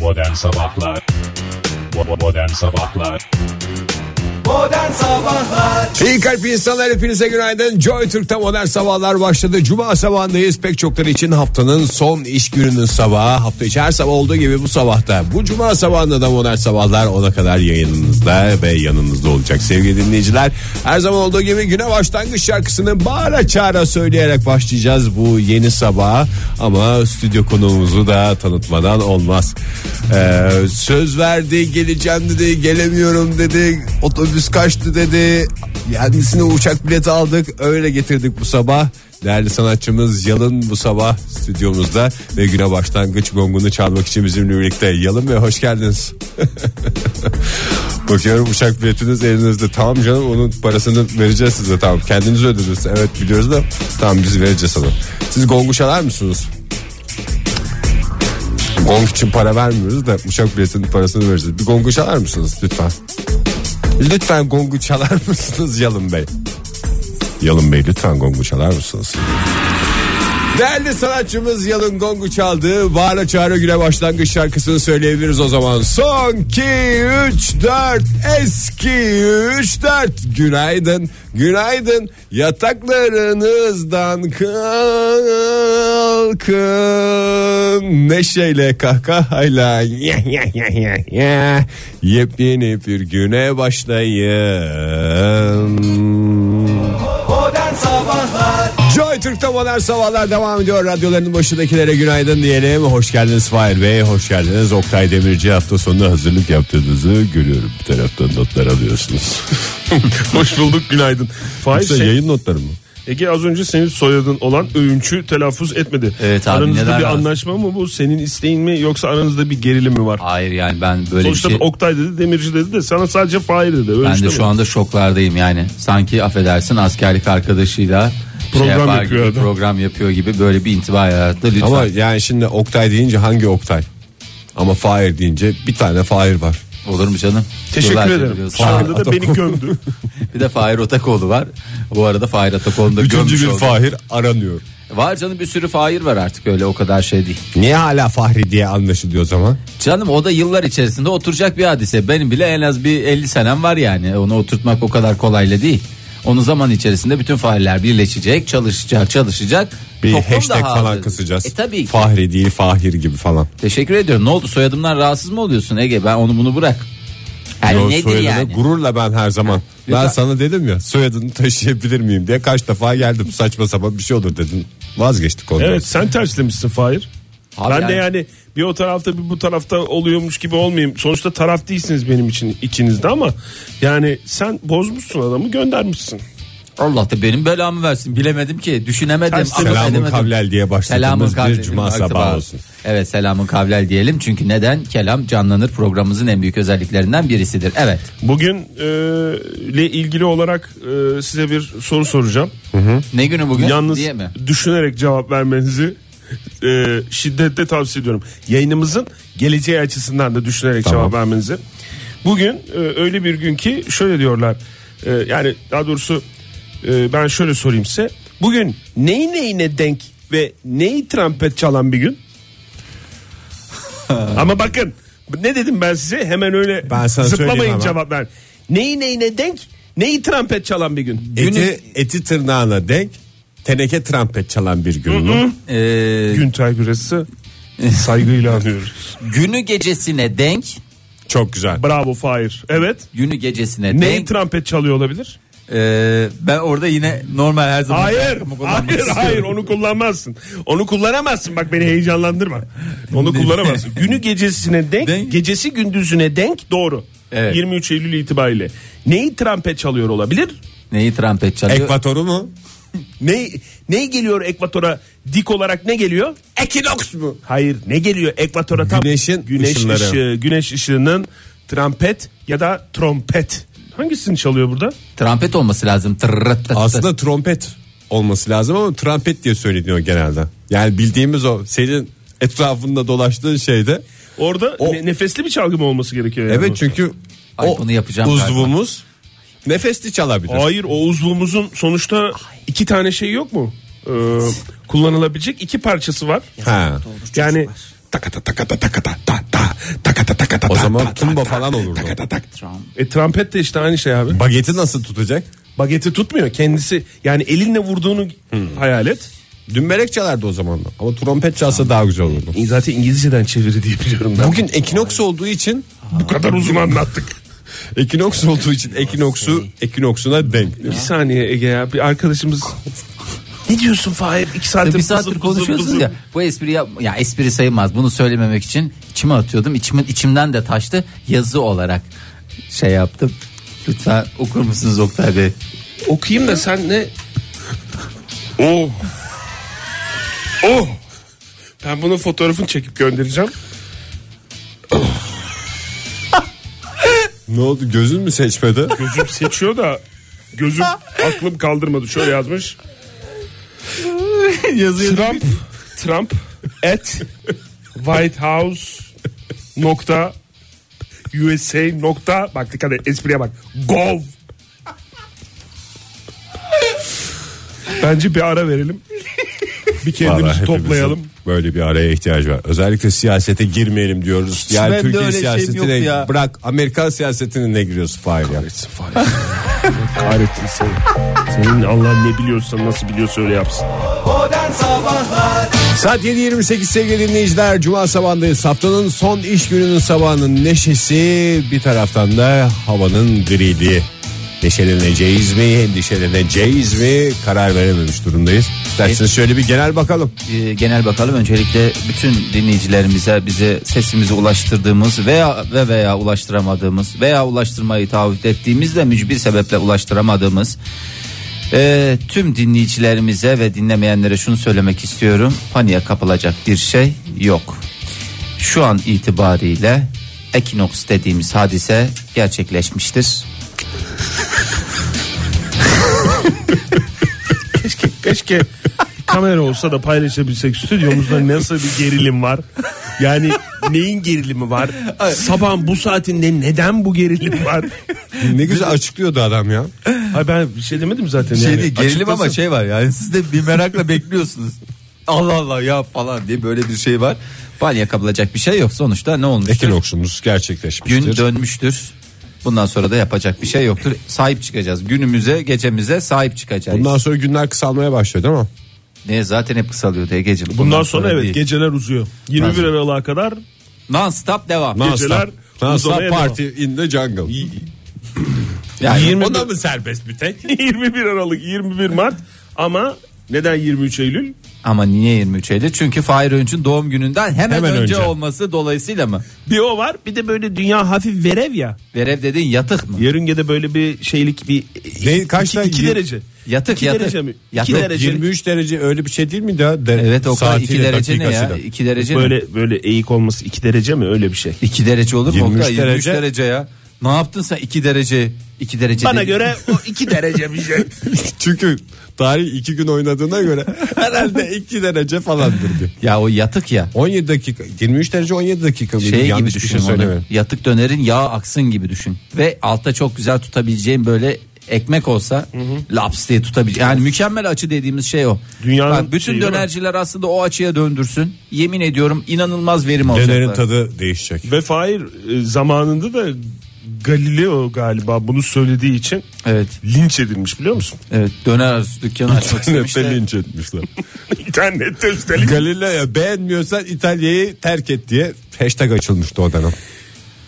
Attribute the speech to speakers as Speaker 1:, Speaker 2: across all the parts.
Speaker 1: Modern Sabahlar Bo- Modern Sabahlar
Speaker 2: İyi kalp insanlar hepinize günaydın. Joy Türk'te modern sabahlar başladı. Cuma sabahındayız. Pek çokları için haftanın son iş gününün sabahı. Hafta içi her sabah olduğu gibi bu sabahta. Bu cuma sabahında da modern sabahlar ona kadar yayınınızda ve yanınızda olacak sevgili dinleyiciler. Her zaman olduğu gibi güne başlangıç şarkısını bağıra çağıra söyleyerek başlayacağız bu yeni sabaha. Ama stüdyo konuğumuzu da tanıtmadan olmaz. Ee, söz verdi geleceğim dedi gelemiyorum dedi otobüs kaçtı dedi kendisine uçak bileti aldık öyle getirdik bu sabah değerli sanatçımız Yalın bu sabah stüdyomuzda ve güne başlangıç gongunu çalmak için bizimle birlikte Yalın ve hoş geldiniz bakıyorum uçak biletiniz elinizde tamam canım onun parasını vereceğiz size tamam kendiniz ödediniz evet biliyoruz da tamam biz vereceğiz sana siz gongu çalar mısınız Gong için para vermiyoruz da uçak biletinin parasını vereceğiz. Bir gongu çalar mısınız lütfen? Lütfen gongu çalar mısınız Yalın Bey? Yalın Bey lütfen gongu çalar mısınız? Değerli sanatçımız Yalın Gongu çaldı. Varla Çağrı Güne başlangıç şarkısını söyleyebiliriz o zaman. Son 2, 3, 4, eski 3, 4. Günaydın, günaydın. Yataklarınızdan kalkın. Neşeyle, kahkahayla. ya, ya, ya, ya, ya. Yepyeni bir güne başlayın. Joy Türk'te modern sabahlar devam ediyor. Radyoların başındakilere günaydın diyelim. Hoş geldiniz Fahir Bey, hoş geldiniz. Oktay Demirci hafta sonuna hazırlık yaptığınızı görüyorum. Bir taraftan notlar alıyorsunuz. hoş bulduk, günaydın.
Speaker 3: Fahir,
Speaker 2: Yoksa
Speaker 3: şey-
Speaker 2: yayın notları mı?
Speaker 3: Ege az önce senin soyadın olan öğünçü telaffuz etmedi.
Speaker 4: Evet abi,
Speaker 3: Aranızda
Speaker 4: neler
Speaker 3: bir
Speaker 4: var?
Speaker 3: anlaşma mı bu? Senin isteğin mi yoksa aranızda bir gerilim mi var?
Speaker 4: Hayır yani ben böyle
Speaker 3: Sonuçta
Speaker 4: bir şey...
Speaker 3: Oktay dedi, Demirci dedi de sana sadece Fahir dedi. Öyle
Speaker 4: Ben de
Speaker 3: işte
Speaker 4: şu
Speaker 3: mi?
Speaker 4: anda şoklardayım yani. Sanki affedersin askerlik arkadaşıyla
Speaker 3: Program
Speaker 4: şey yapar
Speaker 3: yapıyor
Speaker 4: gibi,
Speaker 3: adam.
Speaker 4: program yapıyor gibi böyle bir intiba yarattı. Lütfen.
Speaker 2: Ama yani şimdi Oktay deyince hangi Oktay? Ama Fahir deyince bir tane Fahir var.
Speaker 4: Olur mu canım?
Speaker 3: Teşekkür
Speaker 4: Yıllarca
Speaker 3: ederim.
Speaker 4: biliyorsun.
Speaker 3: Şu anda da
Speaker 2: Atakol.
Speaker 3: beni gömdü.
Speaker 4: Bir de Fahir Otakoğlu var. Bu arada Fahir Otakoğlu'nu da
Speaker 2: Üçüncü
Speaker 4: gömmüş
Speaker 2: bir
Speaker 4: oldum.
Speaker 2: Fahir aranıyor.
Speaker 4: Var canım bir sürü Fahir var artık öyle o kadar şey değil.
Speaker 2: Niye hala Fahri diye anlaşılıyor o zaman?
Speaker 4: Canım o da yıllar içerisinde oturacak bir hadise. Benim bile en az bir 50 senem var yani. Onu oturtmak o kadar kolayla değil. Onu zaman içerisinde bütün failler birleşecek, çalışacak, çalışacak.
Speaker 2: Bir
Speaker 4: Toplum
Speaker 2: hashtag
Speaker 4: daha
Speaker 2: falan
Speaker 4: hazır.
Speaker 2: kısacağız.
Speaker 4: E tabii ki.
Speaker 2: Fahri değil Fahir gibi falan.
Speaker 4: Teşekkür ediyorum. Ne oldu soyadımdan rahatsız mı oluyorsun Ege? Ben onu bunu bırak. Yani
Speaker 2: Yo,
Speaker 4: nedir
Speaker 2: soyadını
Speaker 4: yani?
Speaker 2: Gururla ben her zaman. Ben
Speaker 4: lütfen.
Speaker 2: sana dedim ya soyadını taşıyabilir miyim diye kaç defa geldim. Saçma sapan bir şey olur dedin. Vazgeçtik ondan.
Speaker 3: evet sen terslemişsin Fahir.
Speaker 4: Abi
Speaker 3: ben de
Speaker 4: yani-
Speaker 3: yani bir o tarafta bir bu tarafta oluyormuş gibi olmayayım. Sonuçta taraf değilsiniz benim için ikinizde ama yani sen bozmuşsun adamı göndermişsin.
Speaker 4: Allah da benim belamı versin. Bilemedim ki. Düşünemedim.
Speaker 3: Ters
Speaker 4: akıl
Speaker 2: Selamın
Speaker 4: edemedim.
Speaker 2: kavlel diye
Speaker 4: Selamın
Speaker 2: başladığımız bir
Speaker 4: kavlel.
Speaker 2: cuma
Speaker 4: Bak,
Speaker 2: sabahı
Speaker 4: sabah.
Speaker 2: olsun.
Speaker 4: Evet selamın kavlel diyelim. Çünkü neden? Kelam canlanır programımızın en büyük özelliklerinden birisidir. Evet.
Speaker 3: Bugün e, ile ilgili olarak e, size bir soru soracağım.
Speaker 4: Ne günü bugün?
Speaker 3: Yalnız
Speaker 4: diye mi?
Speaker 3: düşünerek cevap vermenizi e, şiddetle tavsiye ediyorum. Yayınımızın geleceği açısından da düşünerek cevap vermenizi. Bugün e, öyle bir gün ki şöyle diyorlar. E, yani daha doğrusu e, ben şöyle sorayım size. Bugün neyi neyine denk ve neyi trompet çalan bir gün? Ama bakın ne dedim ben size hemen öyle
Speaker 2: Ben sana söyleyeyim
Speaker 3: zıplamayın
Speaker 2: ama.
Speaker 3: cevap ver. Neyi neyine denk neyi trompet çalan bir gün?
Speaker 2: Eti, eti tırnağına denk teneke trompet çalan bir gün mü?
Speaker 4: Ee,
Speaker 3: Günter Güres'i saygıyla anıyoruz.
Speaker 4: günü gecesine denk
Speaker 2: Çok güzel.
Speaker 3: Bravo Fahir. Evet.
Speaker 4: günü gecesine
Speaker 3: Neyi
Speaker 4: E, denk
Speaker 3: trompet çalıyor olabilir?
Speaker 4: Ee, ben orada yine normal her zaman
Speaker 3: Hayır.
Speaker 4: ayakkabımı kullanmak
Speaker 3: Hayır
Speaker 4: istiyorum.
Speaker 3: hayır onu kullanmazsın. Onu kullanamazsın bak beni heyecanlandırma. Onu kullanamazsın. Günü gecesine denk,
Speaker 4: Denk.
Speaker 3: gecesi gündüzüne denk doğru.
Speaker 4: Evet.
Speaker 3: 23 Eylül itibariyle. Neyi trompet çalıyor olabilir?
Speaker 4: Neyi trompet çalıyor?
Speaker 2: Ekvatoru mu?
Speaker 3: Ne ne geliyor ekvatora dik olarak ne geliyor?
Speaker 2: Ekinoks mu?
Speaker 3: Hayır ne geliyor ekvatora tam
Speaker 2: Güneşin
Speaker 3: güneş
Speaker 2: ışınları.
Speaker 3: ışığı, güneş ışığının trompet ya da trompet. Hangisini çalıyor burada?
Speaker 4: trompet olması lazım. Tırrıt tırrıt.
Speaker 2: Aslında trompet olması lazım ama trompet diye söyleniyor genelde. Yani bildiğimiz o senin etrafında dolaştığın şeyde.
Speaker 3: Orada
Speaker 2: O-
Speaker 3: ne- nefesli bir çalgı mı olması gerekiyor yani?
Speaker 2: Evet çünkü
Speaker 4: Ay,
Speaker 2: o
Speaker 4: bunu yapacağım
Speaker 2: uzvumuz nefesli çalabilir.
Speaker 3: Hayır o uzvumuzun sonuçta iki tane şey yok mu? Ee, kullanılabilecek iki parçası var.
Speaker 2: Ha.
Speaker 3: Yani
Speaker 2: takata takata takata ta ta O zaman tumba falan olurdu.
Speaker 3: E trompet de işte aynı şey abi.
Speaker 2: Bageti nasıl tutacak?
Speaker 3: Bageti tutmuyor kendisi. Yani elinle vurduğunu
Speaker 2: Hmm.
Speaker 3: hayal et.
Speaker 2: Dümbelek çalardı o zaman. da. Ama trompet çalsa daha güzel olurdu.
Speaker 3: E, Zaten İngilizceden çeviri diye biliyorum ben.
Speaker 2: Bugün ekinoks olduğu için
Speaker 3: bu kadar uzun anlattık.
Speaker 2: ekinoks olduğu için ekinoksu ekinoksuna denk.
Speaker 3: Bir saniye Ege ya. Bir arkadaşımız ne diyorsun Fahir? İki saattir,
Speaker 4: bir saattir
Speaker 3: fızır fızır
Speaker 4: konuşuyorsunuz
Speaker 3: fızır.
Speaker 4: ya. Bu espri yap ya espri sayılmaz. Bunu söylememek için içime atıyordum. İçimin içimden de taştı. Yazı olarak şey yaptım. Lütfen okur musunuz Oktay Bey?
Speaker 3: Okuyayım da sen ne? Oh. Oh. Ben bunun fotoğrafını çekip göndereceğim.
Speaker 2: Ne oldu gözün mü seçmedi?
Speaker 3: Gözüm seçiyor da gözüm aklım kaldırmadı. Şöyle yazmış. Trump Trump at White House nokta USA nokta bak dikkat et espriye bak gov Bence bir ara verelim. Bir kendimizi
Speaker 2: Vallahi hepimizin
Speaker 3: toplayalım.
Speaker 2: Böyle bir araya ihtiyacı var. Özellikle siyasete girmeyelim diyoruz. Yani
Speaker 4: ben de
Speaker 2: Türkiye
Speaker 4: öyle şeyim
Speaker 2: siyasetine
Speaker 4: yok ya.
Speaker 2: bırak Amerikan siyasetine ne giriyorsun Fahir ya?
Speaker 3: Kahretsin seni. Senin Allah ne biliyorsan nasıl biliyorsa öyle yapsın.
Speaker 2: Saat 7.28 sevgili dinleyiciler. Cuma sabahındayız. Haftanın son iş gününün sabahının neşesi bir taraftan da havanın griliği. Neşeleneceğiz mi, endişeleneceğiz mi karar verememiş durumdayız. İsterseniz şöyle bir genel bakalım.
Speaker 4: e, genel bakalım. Öncelikle bütün dinleyicilerimize bize sesimizi ulaştırdığımız veya ve veya ulaştıramadığımız veya ulaştırmayı taahhüt ettiğimiz de mücbir sebeple ulaştıramadığımız e, tüm dinleyicilerimize ve dinlemeyenlere şunu söylemek istiyorum. Paniğe kapılacak bir şey yok. Şu an itibariyle Ekinoks dediğimiz hadise gerçekleşmiştir.
Speaker 3: Keşke kamera olsa da paylaşabilsek stüdyomuzda nasıl bir gerilim var. Yani neyin gerilimi var? Sabah bu saatinde neden bu gerilim var?
Speaker 2: Ne güzel açıklıyordu adam ya.
Speaker 3: Hayır ben bir şey demedim zaten.
Speaker 4: Şey
Speaker 3: yani.
Speaker 4: değil, gerilim
Speaker 3: Açıklasın.
Speaker 4: ama şey var yani siz de bir merakla bekliyorsunuz. Allah Allah ya falan diye böyle bir şey var. Bal yakabilacak bir şey yok sonuçta ne olmuştur?
Speaker 2: Ekinoksumuz gerçekleşmiştir.
Speaker 4: Gün dönmüştür. Bundan sonra da yapacak bir şey yoktur. Sahip çıkacağız. Günümüze, gecemize sahip çıkacağız.
Speaker 2: Bundan sonra günler kısalmaya başlıyor değil mi?
Speaker 4: Ne zaten hep kısalıyordu Ege'cim. Bundan,
Speaker 3: Bundan sonra evet
Speaker 4: değil.
Speaker 3: geceler uzuyor. 21 Aralık'a kadar
Speaker 4: non stop devam.
Speaker 2: Non-stop.
Speaker 3: Geceler
Speaker 2: Non-stop
Speaker 3: uzamaya devam.
Speaker 2: party in the jungle.
Speaker 4: Yani
Speaker 3: 21
Speaker 4: o da-
Speaker 2: mı serbest bir tek?
Speaker 3: 21 Aralık 21 Mart ama neden 23 Eylül?
Speaker 4: Ama niye 23 Eylül? Çünkü Fahir Öğünç'ün doğum gününden hemen,
Speaker 2: Hemen
Speaker 4: önce,
Speaker 2: önce.
Speaker 4: olması dolayısıyla mı?
Speaker 3: Bir o var bir de böyle dünya hafif verev ya.
Speaker 4: Verev dediğin yatık mı?
Speaker 3: Yörüngede böyle bir şeylik bir
Speaker 2: Ne, kaç
Speaker 3: iki, iki
Speaker 2: tane-
Speaker 3: derece.
Speaker 4: Yatık,
Speaker 3: iki
Speaker 4: yatık.
Speaker 3: Derece mi?
Speaker 4: Yatık,
Speaker 3: İki derece.
Speaker 2: 23 derece öyle bir şey değil mi ya? De,
Speaker 4: Evet o kadar 2
Speaker 2: saatiyle,
Speaker 4: derece ne ya?
Speaker 2: dakikasıyla.
Speaker 4: 2 derece mi?
Speaker 3: Böyle böyle eğik olması 2 derece mi öyle bir şey.
Speaker 4: 2 derece olur mu?
Speaker 2: 23
Speaker 4: Oktay? 23 derece.
Speaker 2: derece.
Speaker 4: ya. Ne yaptın sen 2 derece? 2 derece
Speaker 3: Bana
Speaker 4: değil.
Speaker 3: göre o 2 derece bir şey.
Speaker 2: Çünkü tarih 2 gün oynadığına göre herhalde 2 derece falandır diye.
Speaker 4: Ya o yatık ya.
Speaker 2: 17 dakika 23 derece 17 dakika mıydı?
Speaker 4: Şey gibi
Speaker 2: Yanlış bir
Speaker 4: düşün
Speaker 2: şey
Speaker 4: onu.
Speaker 2: söylemem.
Speaker 4: Yatık dönerin yağ aksın gibi düşün. Ve altta çok güzel tutabileceğin böyle ekmek olsa laps diye tutabileceğin. Yani mükemmel açı dediğimiz şey o.
Speaker 3: Dünyanın
Speaker 4: Bak bütün
Speaker 3: şeyi değil mi?
Speaker 4: dönerciler aslında o açıya döndürsün. Yemin ediyorum inanılmaz verim
Speaker 2: Dönerin
Speaker 4: alacaklar.
Speaker 2: tadı değişecek.
Speaker 3: Ve Fahir e, zamanında da Galileo galiba bunu söylediği için
Speaker 4: Evet.
Speaker 3: linç edilmiş biliyor musun?
Speaker 4: Evet. Döner dükkanı açmak istemişler.
Speaker 2: Nefte linç etmişler.
Speaker 3: İnternette üstelik.
Speaker 2: Galileo beğenmiyorsan İtalya'yı terk et diye hashtag açılmıştı o dönem.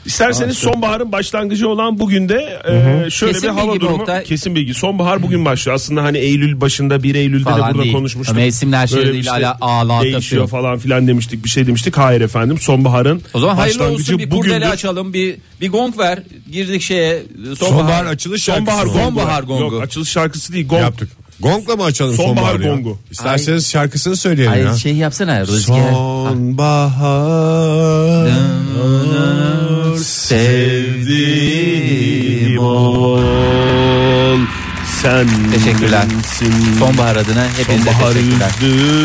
Speaker 3: İsterseniz sonbaharın başlangıcı olan bugün de e, şöyle
Speaker 4: Kesin
Speaker 3: bir hava
Speaker 4: bilgi bu
Speaker 3: durumu
Speaker 4: Oktay.
Speaker 3: kesin bilgi. Sonbahar bugün başlıyor. Aslında hani Eylül başında 1 Eylül'de de
Speaker 4: Falan
Speaker 3: burada
Speaker 4: değil.
Speaker 3: konuşmuştuk.
Speaker 4: Mevsimler şey
Speaker 3: Böyle
Speaker 4: değil,
Speaker 3: bir
Speaker 4: ala- ağlatası
Speaker 3: Değişiyor
Speaker 4: yok.
Speaker 3: falan filan demiştik. Bir şey demiştik. Hayır efendim. Sonbaharın
Speaker 4: O zaman hayırlı
Speaker 3: başlangıcı
Speaker 4: olsun bir
Speaker 3: bugündür.
Speaker 4: kurdele açalım bir bir gong ver girdik şeye sonbahar,
Speaker 2: Sonbahar açılış
Speaker 3: Sonbahar
Speaker 2: şarkısı.
Speaker 3: gongu.
Speaker 4: Sonbahar gongu.
Speaker 3: Yok açılış şarkısı değil. Gong.
Speaker 2: Yaptık. Gongla mı açalım
Speaker 3: Sonbahar
Speaker 2: sonbaharı ya?
Speaker 3: gongu.
Speaker 2: İsterseniz şarkısını söyleyelim
Speaker 4: Ay
Speaker 2: ya.
Speaker 4: şey yapsana rüzgar.
Speaker 2: Sonbahar
Speaker 4: Sevdiğim
Speaker 3: ol. Sen
Speaker 4: Teşekkürler.
Speaker 3: benimsin.
Speaker 4: Sonbahar adına hepinize
Speaker 3: Sonbaharı
Speaker 4: teşekkürler.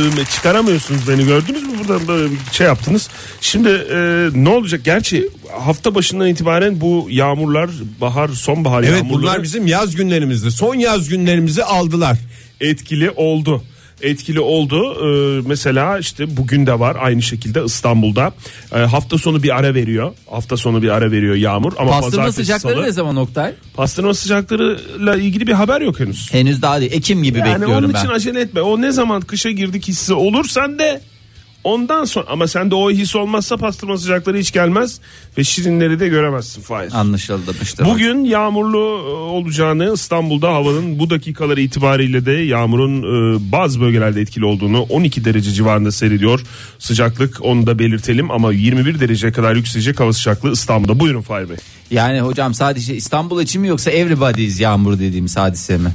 Speaker 3: üzdüm. E, çıkaramıyorsunuz beni gördünüz mü buradan böyle bir şey yaptınız. Şimdi e, ne olacak? Gerçi hafta başından itibaren bu yağmurlar bahar sonbahar
Speaker 2: Evet
Speaker 3: yağmurları
Speaker 2: bunlar bizim yaz günlerimizdi. Son yaz günlerimizi aldılar.
Speaker 3: etkili oldu. etkili oldu. Ee, mesela işte bugün de var aynı şekilde İstanbul'da. Ee, hafta sonu bir ara veriyor. Hafta sonu bir ara veriyor yağmur ama
Speaker 4: Pastırma
Speaker 3: pazartesi
Speaker 4: sıcakları
Speaker 3: salı.
Speaker 4: ne zaman Oktay?
Speaker 3: Pastırma sıcaklarıyla ilgili bir haber yok henüz.
Speaker 4: Henüz daha değil. Ekim gibi
Speaker 3: Yani
Speaker 4: bekliyorum
Speaker 3: onun
Speaker 4: ben.
Speaker 3: için acele etme. O ne zaman kışa girdik hissi olursan de ondan sonra ama sende o his olmazsa pastırma sıcakları hiç gelmez ve şirinleri de göremezsin Faiz.
Speaker 4: Anlaşılmıştır.
Speaker 3: Bugün yağmurlu e, olacağını İstanbul'da havanın bu dakikaları itibariyle de yağmurun e, bazı bölgelerde etkili olduğunu 12 derece civarında seyrediyor. Sıcaklık onu da belirtelim ama 21 dereceye kadar yükselecek hava sıcaklığı İstanbul'da. Buyurun Fahir Bey.
Speaker 4: Yani hocam sadece İstanbul için mi yoksa everybody's yağmur dediğimiz hadise mi?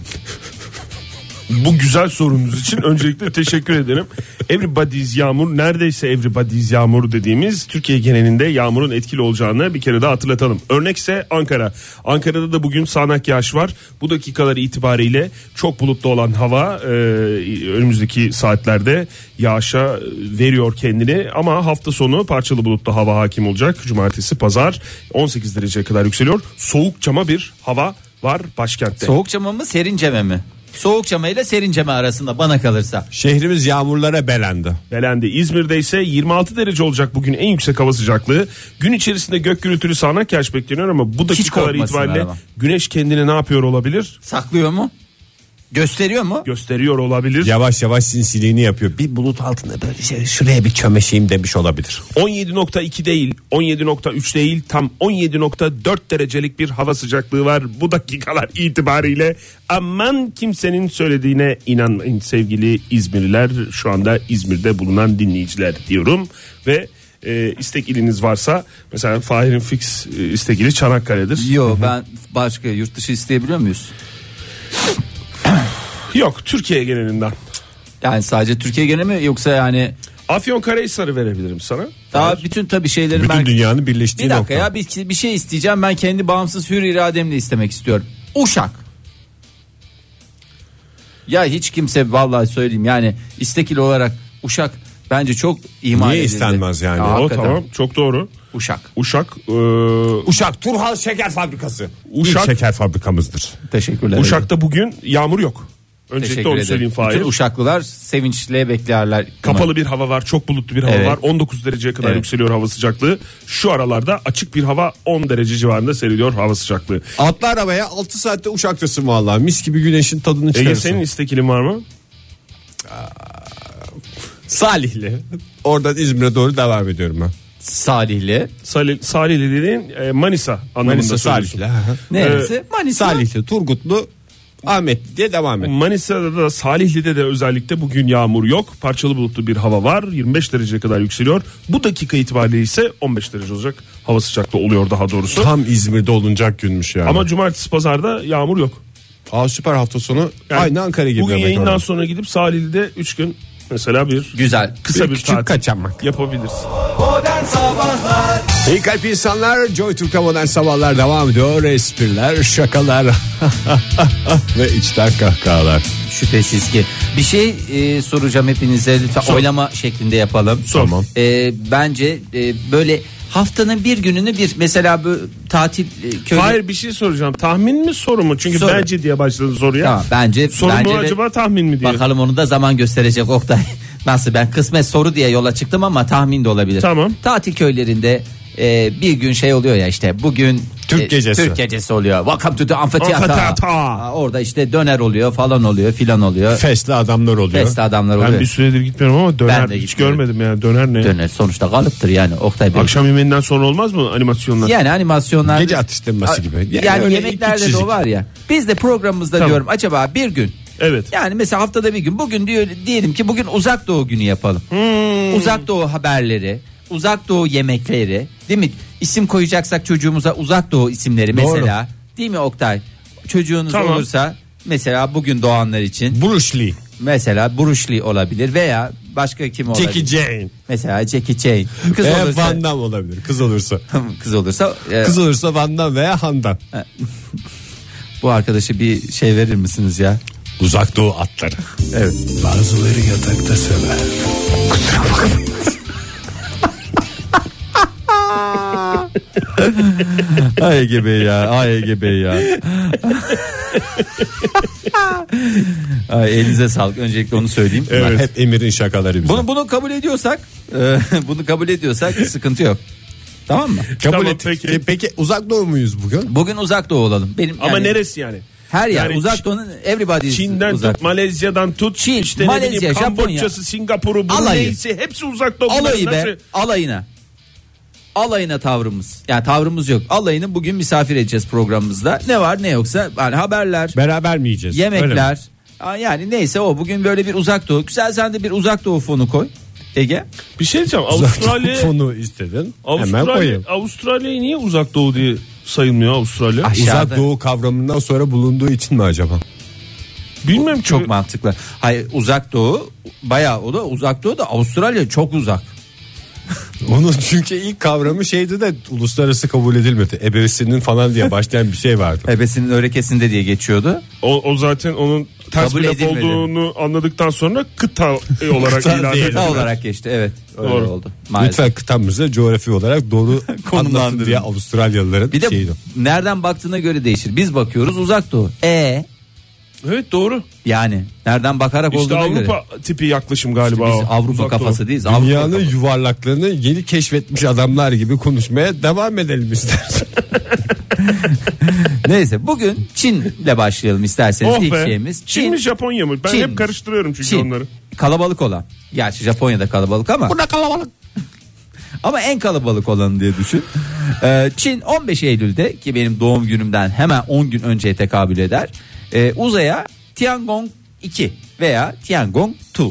Speaker 3: Bu güzel sorunuz için öncelikle teşekkür ederim. Everybody's yağmur neredeyse everybody's yağmur dediğimiz Türkiye genelinde yağmurun etkili olacağını bir kere daha hatırlatalım. Örnekse Ankara. Ankara'da da bugün sağanak yağış var. Bu dakikaları itibariyle çok bulutlu olan hava e, önümüzdeki saatlerde yağışa veriyor kendini ama hafta sonu parçalı bulutlu hava hakim olacak. Cumartesi, pazar 18 dereceye kadar yükseliyor. Soğuk cama bir hava var başkentte.
Speaker 4: Soğuk cama mı serinceme mi? Soğuk cama ile serinceme arasında bana kalırsa.
Speaker 2: Şehrimiz yağmurlara belendi.
Speaker 3: Belendi. İzmir'de ise 26 derece olacak bugün en yüksek hava sıcaklığı. Gün içerisinde gök gürültülü sağanak yağış bekleniyor ama bu dakikalar
Speaker 4: korkmasınlar
Speaker 3: itibariyle
Speaker 4: ama.
Speaker 3: güneş kendini ne yapıyor olabilir?
Speaker 4: Saklıyor mu? Gösteriyor mu?
Speaker 3: Gösteriyor olabilir.
Speaker 2: Yavaş yavaş sinsiliğini yapıyor. Bir bulut altında böyle şey, şuraya bir çömeşeyim demiş olabilir.
Speaker 3: 17.2 değil, 17.3 değil, tam 17.4 derecelik bir hava sıcaklığı var bu dakikalar itibariyle. Aman kimsenin söylediğine inanmayın sevgili İzmirliler. Şu anda İzmir'de bulunan dinleyiciler diyorum ve e, istek iliniz varsa mesela Fahir'in fix e, istek ili Çanakkale'dir.
Speaker 4: Yok ben başka yurt dışı isteyebiliyor muyuz?
Speaker 3: Yok Türkiye genelinden.
Speaker 4: Yani sadece Türkiye gene mi yoksa yani
Speaker 3: Afyonkarahisar'ı verebilirim sana.
Speaker 4: daha bütün tabii şeyleri
Speaker 2: Bütün
Speaker 4: ben
Speaker 2: dünyanın
Speaker 4: bir
Speaker 2: birleştiği
Speaker 4: dakika
Speaker 2: nokta.
Speaker 4: ya bir, bir şey isteyeceğim ben kendi bağımsız hür irademle istemek istiyorum. Uşak. Ya hiç kimse vallahi söyleyeyim yani istekil olarak Uşak bence çok iman
Speaker 2: Niye
Speaker 4: edildi.
Speaker 2: istenmez yani?
Speaker 4: Ya
Speaker 2: O
Speaker 3: O
Speaker 4: hakikaten.
Speaker 3: tamam çok doğru.
Speaker 4: Uşak.
Speaker 3: Uşak e,
Speaker 2: Uşak Turhal Şeker Fabrikası. Uşak
Speaker 3: Uşak-
Speaker 2: şeker fabrikamızdır.
Speaker 4: Teşekkürler.
Speaker 3: Uşak'ta bugün yağmur yok. Öncelikle
Speaker 4: Teşekkür
Speaker 3: onu
Speaker 4: ederim.
Speaker 3: söyleyeyim Fahir.
Speaker 4: Bütün uşaklılar sevinçle beklerler.
Speaker 3: Kapalı bir hava var, çok bulutlu bir hava
Speaker 4: Evet.
Speaker 3: var. 19 dereceye kadar
Speaker 4: Evet.
Speaker 3: yükseliyor hava sıcaklığı. Şu aralarda açık bir hava 10 derece civarında seriliyor hava sıcaklığı.
Speaker 2: Atla arabaya 6 saatte uşaktasın vallahi. Mis gibi güneşin tadını
Speaker 3: Ege
Speaker 2: çıkarırsın.
Speaker 3: senin istekilin var mı?
Speaker 2: Salihli. Oradan İzmir'e doğru devam ediyorum ben.
Speaker 4: Salihli.
Speaker 3: Salih, Salihli dediğin e, Manisa anlamında
Speaker 2: Manisa
Speaker 3: söylüyorsun.
Speaker 2: Salihli. aha.
Speaker 4: Neresi? Manisa.
Speaker 2: Salihli, Turgutlu, Ahmetli diye devam et.
Speaker 3: Manisa'da da Salihli'de de özellikle bugün yağmur yok. Parçalı bulutlu bir hava var. 25 dereceye kadar yükseliyor. Bu dakika itibariyle ise 15 derece olacak. Hava sıcaklığı oluyor daha doğrusu.
Speaker 2: Tam İzmir'de olunacak günmüş yani.
Speaker 3: Ama cumartesi pazarda yağmur yok.
Speaker 2: Aa, süper hafta sonu
Speaker 3: Yani
Speaker 2: aynı Ankara gibi.
Speaker 3: Bugün
Speaker 2: demek
Speaker 3: yayından
Speaker 2: orada.
Speaker 3: sonra gidip Salihli'de 3 gün mesela bir
Speaker 4: Güzel.
Speaker 3: kısa bir,
Speaker 2: Bir küçük
Speaker 3: tatil
Speaker 2: kaçamak.
Speaker 3: yapabilirsin.
Speaker 2: İyi kalp insanlar Joy Türk'te modern sabahlar devam ediyor. Espriler, şakalar ve içten kahkahalar.
Speaker 4: Şüphesiz ki. Bir şey e, soracağım hepinize. Lütfen oylama şeklinde yapalım.
Speaker 3: Sor. Tamam.
Speaker 4: E, bence e, böyle haftanın bir gününü bir mesela bu tatil e, köyü.
Speaker 3: Hayır bir şey soracağım. Tahmin mi soru mu? Çünkü
Speaker 4: Soru.
Speaker 3: bence diye başladın soruya.
Speaker 4: Tamam, bence
Speaker 3: Soru mu
Speaker 4: bence de-
Speaker 3: acaba tahmin mi diye.
Speaker 4: Bakalım onu da zaman gösterecek Oktay. Nasıl ben kısmet soru diye yola çıktım ama tahmin de olabilir.
Speaker 3: Tamam.
Speaker 4: Tatil köylerinde e, bir gün şey oluyor ya işte bugün e,
Speaker 2: Türk gecesi.
Speaker 4: Türk gecesi oluyor. Welcome to the
Speaker 3: Amfiteyatta.
Speaker 4: amfiteyatta. Aa, Orada işte döner oluyor falan oluyor filan oluyor.
Speaker 2: Fesli adamlar oluyor.
Speaker 4: Fest adamlar oluyor.
Speaker 3: Ben bir süredir gitmiyorum ama döner
Speaker 4: Ben de
Speaker 3: hiç
Speaker 4: gitmiyorum.
Speaker 3: görmedim yani döner ne?
Speaker 4: Döner sonuçta kalıptır yani Oktay Bey.
Speaker 3: Akşam yemeğinden sonra olmaz mı animasyonlar?
Speaker 4: Yani animasyonlar.
Speaker 2: Gece atıştırması gibi.
Speaker 4: Yani,
Speaker 2: öyle iki
Speaker 4: yemeklerde de
Speaker 2: çizik.
Speaker 4: o var ya. Biz de programımızda
Speaker 3: Tamam.
Speaker 4: diyorum acaba bir gün.
Speaker 3: Evet.
Speaker 4: Yani mesela haftada bir gün bugün diyor diyelim ki bugün uzak doğu günü yapalım.
Speaker 2: Hmm.
Speaker 4: Uzak doğu haberleri, uzak doğu yemekleri, değil mi? İsim koyacaksak çocuğumuza uzak doğu isimleri
Speaker 2: Doğru.
Speaker 4: mesela. Değil mi Oktay? Çocuğunuz
Speaker 3: Tamam.
Speaker 4: olursa mesela bugün doğanlar için
Speaker 2: Bruce Lee,
Speaker 4: mesela Bruce Lee olabilir veya başka kim olabilir?
Speaker 2: Jackie Jane.
Speaker 4: Mesela Jackie Chan. Kız
Speaker 2: Veya
Speaker 4: olursa
Speaker 2: Van Damme olabilir. Kız olursa.
Speaker 4: kız olursa e,
Speaker 2: Kız olursa Van Damme veya Handan.
Speaker 4: bu arkadaşı bir şey verir misiniz ya?
Speaker 2: Uzak Doğu atları. Evet. Bazıları yatakta sever.
Speaker 4: Ay gibi ya, ay gibi ya. Ay, elinize sağlık. Öncelikle onu söyleyeyim.
Speaker 2: Bunlar Hep Emir'in şakaları bize.
Speaker 4: Bunu bunu kabul ediyorsak, e, bunu kabul ediyorsak sıkıntı yok. Tamam mı?
Speaker 2: Kabul
Speaker 3: Tamam,
Speaker 2: ettik. E,
Speaker 3: peki.
Speaker 2: Peki. uzak doğu muyuz bugün?
Speaker 4: Bugün uzak doğu olalım. Benim
Speaker 3: Ama
Speaker 4: yani
Speaker 3: neresi yani?
Speaker 4: Her yer
Speaker 3: Yani
Speaker 4: uzak doğunun everybody is
Speaker 3: Çin'den
Speaker 4: uzak.
Speaker 3: tut, Malezya'dan tut,
Speaker 4: Çin,
Speaker 3: işte
Speaker 4: Malezya,
Speaker 3: ne bileyim,
Speaker 4: Japonya.
Speaker 3: Kamboçya'sı, Singapur'u, Brunei'si hepsi uzak doğu.
Speaker 4: alayı
Speaker 3: Bunların
Speaker 4: be
Speaker 3: nasıl-
Speaker 4: alayına. Alayına tavrımız. Yani tavrımız yok. Alayını bugün misafir edeceğiz programımızda. Ne var ne yoksa yani haberler,
Speaker 2: Beraber mi yiyeceğiz? Öyle mi?
Speaker 4: yemekler. Aa, Yani neyse o bugün böyle bir uzak doğu. Güzel sen de bir uzak doğu fonu koy. Ege.
Speaker 3: Bir şey diyeceğim
Speaker 2: Uzak doğu
Speaker 3: Avustralya,
Speaker 2: fonu istedin. Hemen
Speaker 3: Avustralya,
Speaker 2: koyayım.
Speaker 3: Avustralya'yı niye uzak doğu diye sayılmıyor Avustralya?
Speaker 4: Ay, Aşağıda-
Speaker 2: Uzak doğu kavramından sonra bulunduğu için mi acaba?
Speaker 3: Bilmem ki.
Speaker 4: Çok mantıklı. Hayır uzak doğu bayağı o da uzak doğu da Avustralya çok uzak.
Speaker 2: Onun çünkü ilk kavramı şeydi de uluslararası kabul edilmedi. Ebevesinin falan diye başlayan bir şey vardı.
Speaker 4: Hebesinin örekesinde diye geçiyordu.
Speaker 3: O, o zaten onun ters
Speaker 4: Kabul
Speaker 3: bir laf
Speaker 4: edilmedi.
Speaker 3: olduğunu anladıktan sonra kıta e, olarak
Speaker 2: Kıta
Speaker 3: ilan
Speaker 2: değil.
Speaker 3: edildi.
Speaker 4: Ne olarak geçti evet. Öyle
Speaker 3: Doğru.
Speaker 4: oldu. Maalesef.
Speaker 2: Lütfen kıtamızı coğrafi olarak doğru anlatın
Speaker 4: Konumlandırın.
Speaker 2: diye Avustralyalıların
Speaker 4: Bir de
Speaker 2: şeydi.
Speaker 4: nereden baktığına göre değişir. Biz bakıyoruz uzak doğu. E
Speaker 3: Evet doğru.
Speaker 4: yani nereden bakarak
Speaker 3: İşte
Speaker 4: olduğuna göre.
Speaker 3: Avrupa tipi yaklaşım galiba.
Speaker 4: Biz
Speaker 3: o.
Speaker 4: Avrupa
Speaker 3: Uzak
Speaker 4: kafası
Speaker 3: Doğu.
Speaker 4: değiliz. Avrupa
Speaker 2: Dünyanın
Speaker 4: kafası.
Speaker 2: yuvarlaklığını yeni keşfetmiş adamlar gibi konuşmaya devam edelim istersen.
Speaker 4: Neyse bugün Çin'le başlayalım isterseniz
Speaker 3: Oh
Speaker 4: ilk
Speaker 3: be.
Speaker 4: şeyimiz.
Speaker 3: Çin, mi Japonya mı? Ben
Speaker 4: Çin.
Speaker 3: hep karıştırıyorum çünkü
Speaker 4: Çin.
Speaker 3: onları.
Speaker 4: Kalabalık olan. Gerçi Japonya'da kalabalık ama. Burada kalabalık. ama en kalabalık olanı diye düşün. Ee, Çin 15 Eylül'de ki benim doğum günümden hemen 10 gün önceye tekabül eder. Ee, uzaya Tiangong 2 veya Tiangong 2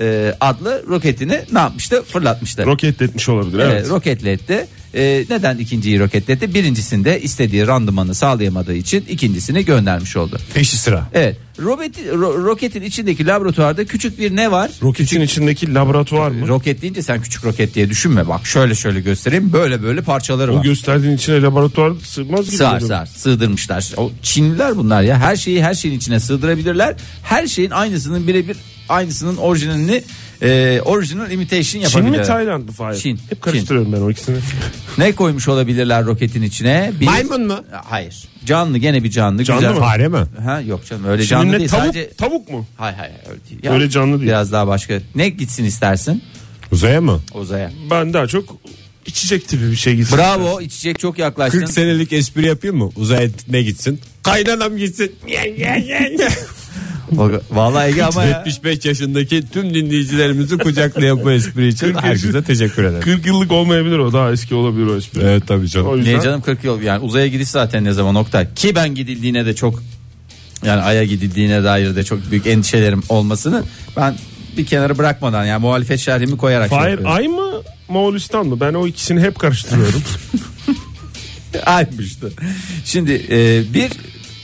Speaker 4: ee, adlı roketini ne yapmıştı? Fırlatmıştı.
Speaker 3: Roketletmiş olabilir. Evet.
Speaker 4: Ee, roketletti. Ee, neden ikinciyi roketletti? Birincisinde istediği randımanı sağlayamadığı için ikincisini göndermiş oldu.
Speaker 2: Peşi sıra.
Speaker 4: Evet. Robeti, ro- roketin içindeki laboratuvarda küçük bir ne var?
Speaker 3: Roketin içindeki laboratuvar mı?
Speaker 4: Roket deyince sen küçük roket diye düşünme. Bak şöyle şöyle göstereyim. Böyle böyle parçaları
Speaker 3: O
Speaker 4: var.
Speaker 3: gösterdiğin içine laboratuvar sığmaz gibi.
Speaker 4: Sığar
Speaker 3: oluyor.
Speaker 4: sığar. Sığdırmışlar. O Çinliler bunlar ya. Her şeyi her şeyin içine sığdırabilirler. Her şeyin aynısının birebir aynısının orijinalini e, original imitation
Speaker 3: Çin
Speaker 4: yapabilirler.
Speaker 3: mi Tayland mı Fahir?
Speaker 4: Çin.
Speaker 3: Hep karıştırıyorum ben o ikisini.
Speaker 4: Ne koymuş olabilirler roketin içine? Bir-
Speaker 2: Maymun mu?
Speaker 4: Hayır. Canlı gene bir canlı.
Speaker 3: Canlı
Speaker 4: güzel.
Speaker 3: mı?
Speaker 2: Fare mi?
Speaker 4: Ha, yok canım öyle canlı
Speaker 3: Çin'in ne
Speaker 4: değil.
Speaker 3: tavuk,
Speaker 4: Sadece...
Speaker 3: tavuk mu?
Speaker 4: Hayır hayır öyle değil.
Speaker 3: Öyle canlı değil.
Speaker 4: Biraz daha başka. Ne gitsin istersin?
Speaker 2: Uzaya mı?
Speaker 4: Uzaya.
Speaker 3: Ben daha çok içecek tipi bir şey gitsin.
Speaker 4: Bravo içecek çok yaklaştın.
Speaker 2: 40 senelik espri yapayım mı? Uzaya ne gitsin? Kaynanam gitsin.
Speaker 4: Bak- Vallahi Ege ama ya.
Speaker 3: şey
Speaker 2: 75 yaşındaki tüm dinleyicilerimizi kucaklayan bu espri için
Speaker 3: Kırk yaşı-
Speaker 2: herkese teşekkür ederim.
Speaker 3: 40 yıllık olmayabilir o daha eski olabilir o espri.
Speaker 2: Evet tabii canım.
Speaker 3: O yüzden
Speaker 4: Niye canım 40 yıl yani uzaya gidiş zaten ne zaman Oktay. Ki ben gidildiğine de çok yani aya gidildiğine dair de çok büyük endişelerim olmasını ben bir kenara bırakmadan yani muhalefet şerhimi koyarak. şey
Speaker 3: Fahir
Speaker 4: yapıyorum.
Speaker 3: ay mı Moğolistan mı? Ben o ikisini hep karıştırıyorum.
Speaker 4: Aymıştı. Şimdi e, bir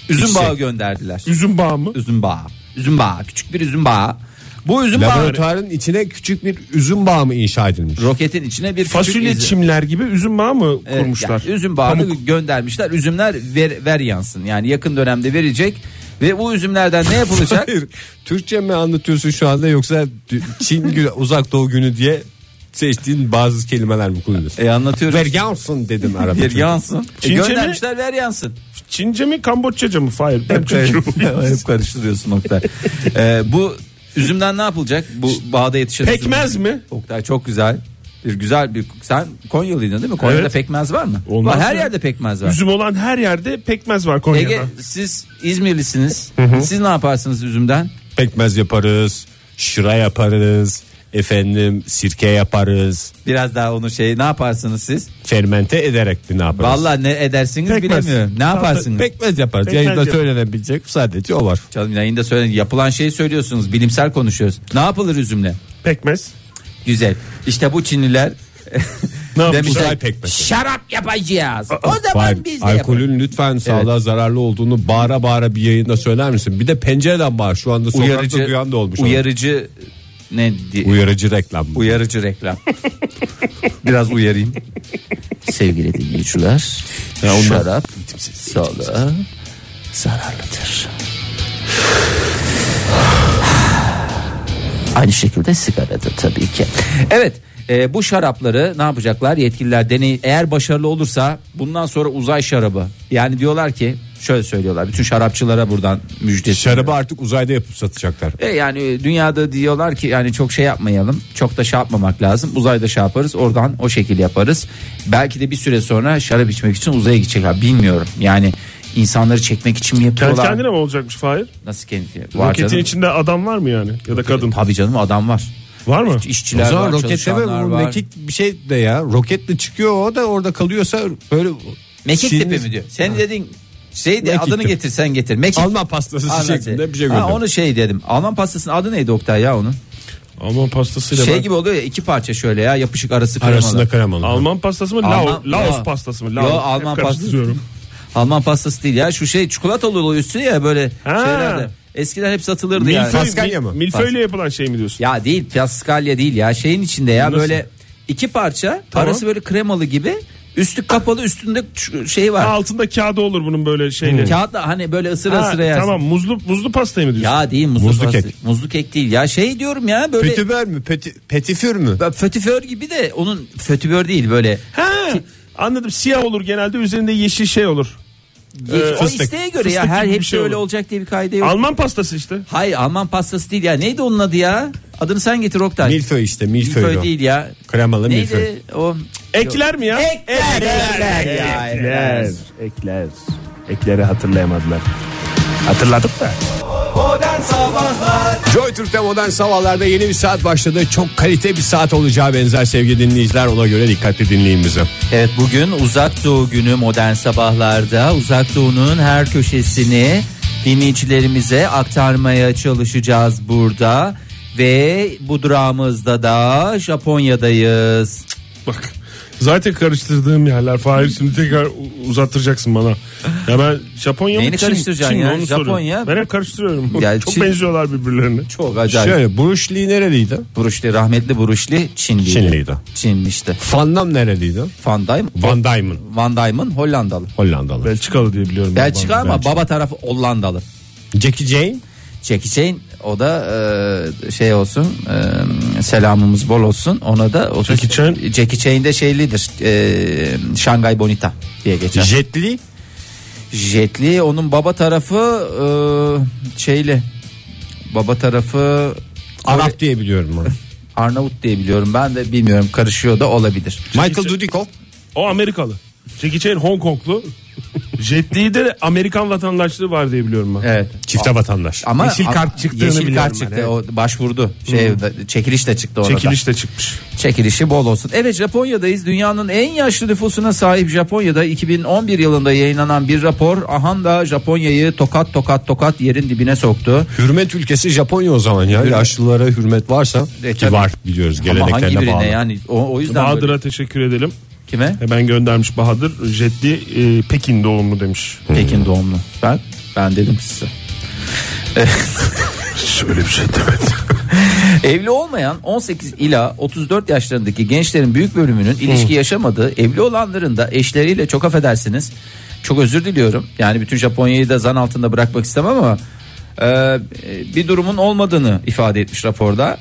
Speaker 4: üzüm bağı gönderdiler.
Speaker 3: Üzüm bağı mı?
Speaker 4: Üzüm bağı. Üzüm bağı. Küçük bir üzüm bağı. Bu üzüm bağı
Speaker 2: Laboratuvarın içine küçük bir üzüm bağı mı inşa edilmiş?
Speaker 4: roketin içine bir küçük
Speaker 3: Fasulye
Speaker 4: izi-
Speaker 3: çimler gibi üzüm bağı mı
Speaker 4: Evet,
Speaker 3: kurmuşlar?
Speaker 4: yani üzüm bağını
Speaker 3: Pamuk.
Speaker 4: göndermişler. Üzümler ver, ver yansın. Yani yakın dönemde verecek ve bu üzümlerden ne yapılacak?
Speaker 2: Hayır. Türkçe mi anlatıyorsun şu anda yoksa Çin günü, uzak doğu günü diye seçtiğin bazı kelimeler mi kullanıyorsun?
Speaker 4: e anlatıyorum.
Speaker 2: Ver yansın dedim arada.
Speaker 4: Ver yansın. E,
Speaker 3: Çince mi?
Speaker 4: göndermişler ver yansın.
Speaker 3: Çince mi Kamboçyaca mı? Fahir ben çünkü
Speaker 4: Hep karıştırıyorsun Oktay. E, bu üzümden ne yapılacak? Bu bağda yetişen üzüm-
Speaker 3: Pekmez mi?
Speaker 4: Oktay çok güzel. Bir güzel bir sen Konyalıydın değil mi? Konya'da
Speaker 3: Evet.
Speaker 4: pekmez var mı?
Speaker 3: Olmaz
Speaker 4: var, her
Speaker 3: mı?
Speaker 4: yerde pekmez var.
Speaker 3: Üzüm olan her yerde pekmez var Konya'da.
Speaker 4: Ege siz İzmirlisiniz. Siz ne yaparsınız üzümden?
Speaker 2: Pekmez yaparız, şıra yaparız, efendim sirke yaparız,
Speaker 4: Biraz daha onu şey ne yaparsınız siz?
Speaker 2: fermente ederek de ne yaparız?
Speaker 4: Vallahi ne edersiniz
Speaker 3: Pekmez.
Speaker 4: bilemiyorum. Ne yaparsınız?
Speaker 2: Pekmez yaparız.
Speaker 3: Pekmez
Speaker 2: Yayında
Speaker 3: yaparız.
Speaker 2: söylenebilecek sadece o var.
Speaker 4: Canım yayında söyleyin. Yapılan şeyi söylüyorsunuz. Bilimsel konuşuyoruz. Ne yapılır üzümle?
Speaker 3: Pekmez.
Speaker 4: Güzel. İşte bu Çinliler
Speaker 3: Ne yapmışlar?
Speaker 4: demişler
Speaker 2: uzay pekmezi.
Speaker 4: şarap yapacağız. o zaman
Speaker 2: Fahir,
Speaker 4: biz de yaparız.
Speaker 2: alkolün lütfen sağlığa zararlı olduğunu bağıra bağıra bir yayında söyler misin? Bir de pencereden bağır. Şu anda sokakta
Speaker 4: Uyarıcı,
Speaker 2: duyan da olmuş. olan.
Speaker 4: uyarıcı ne diye,
Speaker 2: Uyarıcı reklam. bu.
Speaker 4: Uyarıcı reklam. Biraz uyarayım. Sevgili dinleyiciler, şarap sağlığa zararlıdır. Aynı şekilde sigara da tabii ki. Evet, e, bu şarapları ne yapacaklar yetkililer? Deney eğer başarılı olursa bundan sonra uzay şarabı. Yani diyorlar ki Şöyle söylüyorlar. Bütün şarapçılara buradan müjdesi.
Speaker 2: Şarabı artık uzayda yapıp satacaklar.
Speaker 4: E yani dünyada diyorlar ki yani çok şey yapmayalım. Çok da şey yapmamak lazım. Uzayda şey yaparız. Oradan o şekil yaparız. Belki de bir süre sonra şarap içmek için uzaya gidecek abi bilmiyorum. Yani insanları çekmek için mi
Speaker 3: Kendi
Speaker 4: yapıyorlar?
Speaker 3: kendine mi olacakmış Fahir?
Speaker 4: Nasıl kendi? Var
Speaker 3: Roketin
Speaker 4: canım.
Speaker 3: içinde adam var mı yani? Ya da kadın.
Speaker 4: Tabii canım adam var.
Speaker 3: Var mı?
Speaker 2: O
Speaker 4: İşçiler
Speaker 2: zaman
Speaker 4: var,
Speaker 2: roketle ve
Speaker 4: çalışanlar
Speaker 2: bu
Speaker 4: var.
Speaker 2: mekik bir şey de ya. Roketle çıkıyor o da orada kalıyorsa böyle
Speaker 4: Mekik
Speaker 2: Çin-
Speaker 4: tipi mi diyor? Sen dedin şey de
Speaker 2: Mekik
Speaker 4: adını
Speaker 2: tipi.
Speaker 4: getir sen getir. Mekik
Speaker 2: Alman pastası
Speaker 4: Anladım.
Speaker 2: şeklinde bir şey
Speaker 4: Ha,
Speaker 2: gördüm.
Speaker 4: onu şey dedim. Alman pastasının adı neydi Oktay ya onun?
Speaker 3: Alman pastasıyla
Speaker 4: şey
Speaker 3: ben-
Speaker 4: gibi oluyor ya iki parça şöyle ya yapışık arası kremalı.
Speaker 2: Arasında kremalı.
Speaker 3: Alman pastası mı?
Speaker 4: Alman-
Speaker 3: Lao- Laos
Speaker 4: Yo.
Speaker 3: pastası mı?
Speaker 4: Yo,
Speaker 3: Laos.
Speaker 4: Alman
Speaker 3: Hep karıştırıyorum.
Speaker 4: Alman pastası değil ya şu şey çikolata oluyor üstü ya böyle
Speaker 3: Ha.
Speaker 4: şeylerde. Eskiden hep satılırdı yani.
Speaker 3: Milföy,
Speaker 2: Paskanya mı?
Speaker 3: Milföyle yapılan şey mi diyorsun?
Speaker 4: Ya değil paskalya değil ya şeyin içinde ya
Speaker 3: Nasıl?
Speaker 4: böyle iki parça
Speaker 3: Tamam.
Speaker 4: arası böyle kremalı gibi üstü kapalı üstünde şu- şey
Speaker 3: Ha,
Speaker 4: var.
Speaker 3: altında kağıdı olur bunun böyle şeyle.
Speaker 4: Kağıtla hani böyle ısıra
Speaker 3: Ha,
Speaker 4: ısıra yersin.
Speaker 3: tamam muzlu muzlu pastayı mı diyorsun?
Speaker 4: Ya değil muzlu,
Speaker 2: Muzlu
Speaker 4: pasta-
Speaker 2: kek.
Speaker 4: Muzlu kek değil ya şey diyorum ya böyle
Speaker 2: Petibör mü? Peti, petifür mü?
Speaker 4: Ben Fötibör gibi de onun fötibör değil böyle.
Speaker 3: Ha, anladım siyah olur genelde üzerinde yeşil şey olur. Ee,
Speaker 4: o
Speaker 3: fıstık.
Speaker 4: isteğe göre
Speaker 3: Fıstık
Speaker 4: ya
Speaker 3: gibi
Speaker 4: her
Speaker 3: bir
Speaker 4: hepsi
Speaker 3: şey
Speaker 4: öyle
Speaker 3: olur.
Speaker 4: olacak diye bir kaydı yok.
Speaker 3: Alman pastası işte.
Speaker 4: Hayır Alman pastası değil ya. Neydi onun adı ya? Adını sen getir Oktay.
Speaker 2: Milföy işte milföy.
Speaker 4: Milföy
Speaker 2: o.
Speaker 4: değil ya.
Speaker 2: Kremalı
Speaker 4: Neydi
Speaker 2: milföy.
Speaker 4: o?
Speaker 3: Ekler mi ya?
Speaker 4: Ekler, ekler ya, ekler.
Speaker 3: Ekler. Ekleri hatırlayamadılar. Hatırladık da.
Speaker 2: Joy Türk'te modern sabahlarda yeni bir saat başladı. Çok kalite bir saat olacağı benzer sevgili dinleyiciler. Ona göre dikkatli dinleyin bizi.
Speaker 4: Evet bugün Uzak Doğu günü modern sabahlarda Uzak Doğu'nun her köşesini dinleyicilerimize aktarmaya çalışacağız burada. Ve bu durağımızda da Japonya'dayız.
Speaker 3: Bak zaten karıştırdığım yerler. Fahir şimdi tekrar u- uzattıracaksın bana. Ya ben Japonya mı
Speaker 4: Neyini
Speaker 3: Çin-
Speaker 4: karıştıracaksın
Speaker 3: Çin mi?
Speaker 4: ya?
Speaker 3: Onu soruyorum.
Speaker 4: Japonya-
Speaker 3: Ben hep karıştırıyorum.
Speaker 4: Ya
Speaker 3: Çok
Speaker 4: Çin-
Speaker 3: benziyorlar birbirlerine.
Speaker 4: Çok acayip.
Speaker 2: Şöyle Bruce Lee nereliydi?
Speaker 4: Buruşli rahmetli Buruşli Çinliydi.
Speaker 2: Çinliydi.
Speaker 4: Çinmişti.
Speaker 2: Van Damme nereliydi?
Speaker 4: Van Dijk
Speaker 2: Van Damme'ın
Speaker 4: Van Dijk'ın Hollandalı.
Speaker 2: Hollandalı.
Speaker 3: Belçikalı diye biliyorum. ben
Speaker 4: Belçika
Speaker 3: bana.
Speaker 4: ama baba tarafı Hollandalı.
Speaker 2: Jackie Jane
Speaker 4: Jackie Chan o da e, şey olsun e, selamımız bol olsun ona da o da-
Speaker 3: Jackie Chan.
Speaker 4: Jackie Chan de şeylidir e, Şangay Bonita diye geçer.
Speaker 2: Jet Li
Speaker 4: Jetli onun baba tarafı e, şeyli baba tarafı
Speaker 2: Arap diye biliyorum onu.
Speaker 4: Arnavut diye biliyorum ben de bilmiyorum karışıyor da olabilir.
Speaker 2: Michael Dudikoff
Speaker 3: O Amerikalı. Jackie Chan Hong Konglu. Jet Li'de de Amerikan vatandaşlığı var diye biliyorum ben.
Speaker 4: Evet.
Speaker 2: çifte vatandaş.
Speaker 4: Ama
Speaker 3: Yeşil kart
Speaker 4: ama-
Speaker 3: çıktığını
Speaker 4: yeşil
Speaker 3: biliyorum
Speaker 4: kart
Speaker 3: ben,
Speaker 4: çıktı.
Speaker 3: evet.
Speaker 4: O başvurdu. Şey çekiliş de çıktı orada.
Speaker 3: Çekiliş de çıkmış.
Speaker 4: Çekilişi bol olsun. Evet Japonya'dayız. Dünyanın en yaşlı nüfusuna sahip Japonya'da 2011 yılında yayınlanan bir rapor ahan da Japonya'yı tokat tokat tokat yerin dibine soktu.
Speaker 2: Hürmet ülkesi Japonya o zaman ya. Yaşlılara hürmet varsa
Speaker 4: E,
Speaker 2: ki
Speaker 4: tabii.
Speaker 2: var biliyoruz
Speaker 4: Ama hangi
Speaker 2: geleneklerine
Speaker 4: birine
Speaker 2: bağlı.
Speaker 4: yani o, o yüzden
Speaker 3: Bahadır'a
Speaker 4: böyle-
Speaker 3: teşekkür edelim.
Speaker 4: kime?
Speaker 3: Hemen göndermiş Bahadır. Jet Li e, Pekin doğumlu demiş.
Speaker 4: Pekin doğumlu. Ben ben dedim size.
Speaker 3: Şöyle bir şey demedi.
Speaker 4: Evli olmayan 18 ila 34 yaşlarındaki gençlerin büyük bölümünün
Speaker 3: Hmm.
Speaker 4: ilişki yaşamadığı, evli olanların da eşleriyle çok affedersiniz. Çok özür diliyorum. Yani bütün Japonya'yı da zan altında bırakmak istemem ama e, bir durumun olmadığını ifade etmiş raporda.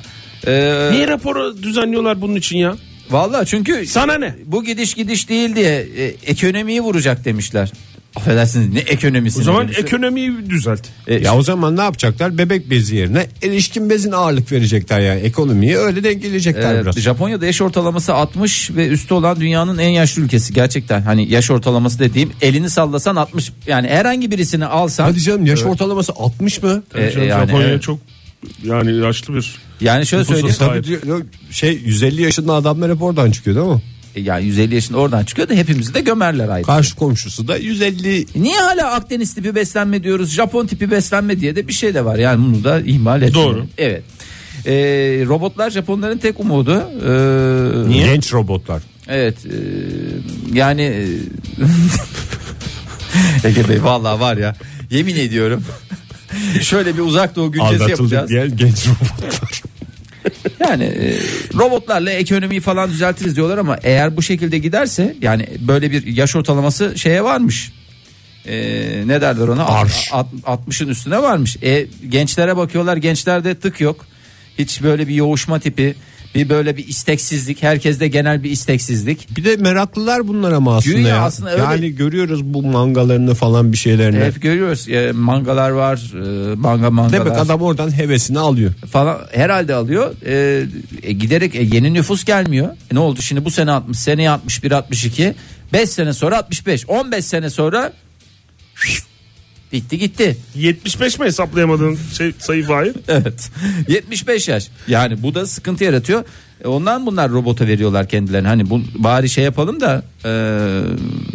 Speaker 4: E,
Speaker 3: Niye raporu düzenliyorlar bunun için ya?
Speaker 4: Valla çünkü
Speaker 3: Sana ne?
Speaker 4: bu gidiş gidiş değil diye e, ekonomiyi vuracak demişler. Affedersiniz ne ekonomisi?
Speaker 3: O zaman ekonomiyi düzelt.
Speaker 4: E,
Speaker 2: E, Ya o zaman ne yapacaklar? Bebek bezi yerine erişkin bezin ağırlık verecekler yani. Ekonomiyi öyle dengeleyecekler
Speaker 4: Ee,
Speaker 2: biraz.
Speaker 4: Japonya'da yaş ortalaması 60 ve üstü olan dünyanın en yaşlı ülkesi gerçekten. Hani yaş ortalaması dediğim elini sallasan 60 yani herhangi birisini alsan
Speaker 2: Hadi canım yaş ortalaması 60 mı?
Speaker 4: E,
Speaker 3: Canım,
Speaker 4: yani,
Speaker 3: Japonya
Speaker 4: evet.
Speaker 3: çok yani yaşlı bir.
Speaker 4: yani şöyle söyleyeyim.
Speaker 3: Nüfusu-
Speaker 2: Tabii diyor, şey 150 yaşında adamlar hep oradan çıkıyor değil mi?
Speaker 4: E, Yani 150 yaşında oradan çıkıyor da hepimizi de gömerler ayrı.
Speaker 2: Karşı komşusu da 150
Speaker 4: Niye hala Akdeniz tipi beslenme diyoruz? Japon tipi beslenme diye de bir şey de var. Yani bunu da ihmal et.
Speaker 3: Doğru.
Speaker 4: Evet. Ee, robotlar Japonların tek umudu. Ee,
Speaker 2: genç robotlar.
Speaker 4: Evet e, yani e, Ege Bey vallahi var ya yemin ediyorum. Şöyle bir uzak doğu güncesi
Speaker 2: Aldatıldık
Speaker 4: yapacağız.
Speaker 2: diye genç robot.
Speaker 4: Yani e, robotlarla ekonomiyi falan düzeltiriz diyorlar ama eğer bu şekilde giderse yani böyle bir yaş ortalaması şeye varmış. E, ne derler ona?
Speaker 2: Arş.
Speaker 4: Alt- alt- 60'ın üstüne varmış. E, gençlere bakıyorlar gençlerde tık yok. Hiç böyle bir yoğuşma tipi Bir böyle bir isteksizlik. Herkeste genel bir isteksizlik.
Speaker 2: Bir de meraklılar bunlar ama aslında
Speaker 4: Güya
Speaker 2: ya.
Speaker 4: aslında öyle.
Speaker 2: Yani görüyoruz bu mangalarını falan bir şeylerini.
Speaker 4: Hep görüyoruz e, mangalar var, e, manga mangalar.
Speaker 2: Demek adam oradan hevesini alıyor.
Speaker 4: falan herhalde alıyor. Ee, e, giderek e, yeni nüfus gelmiyor. E, ne oldu şimdi bu sene 60, seneye 61, 62, 5 sene sonra 65, 15 sene sonra bitti gitti.
Speaker 3: 75 mi hesaplayamadığın şey, sayı Fahir?
Speaker 4: Evet. 75 yaş. Yani bu da sıkıntı yaratıyor. E, Ondan bunlar robota veriyorlar kendilerini. Hani bu bari şey yapalım da e,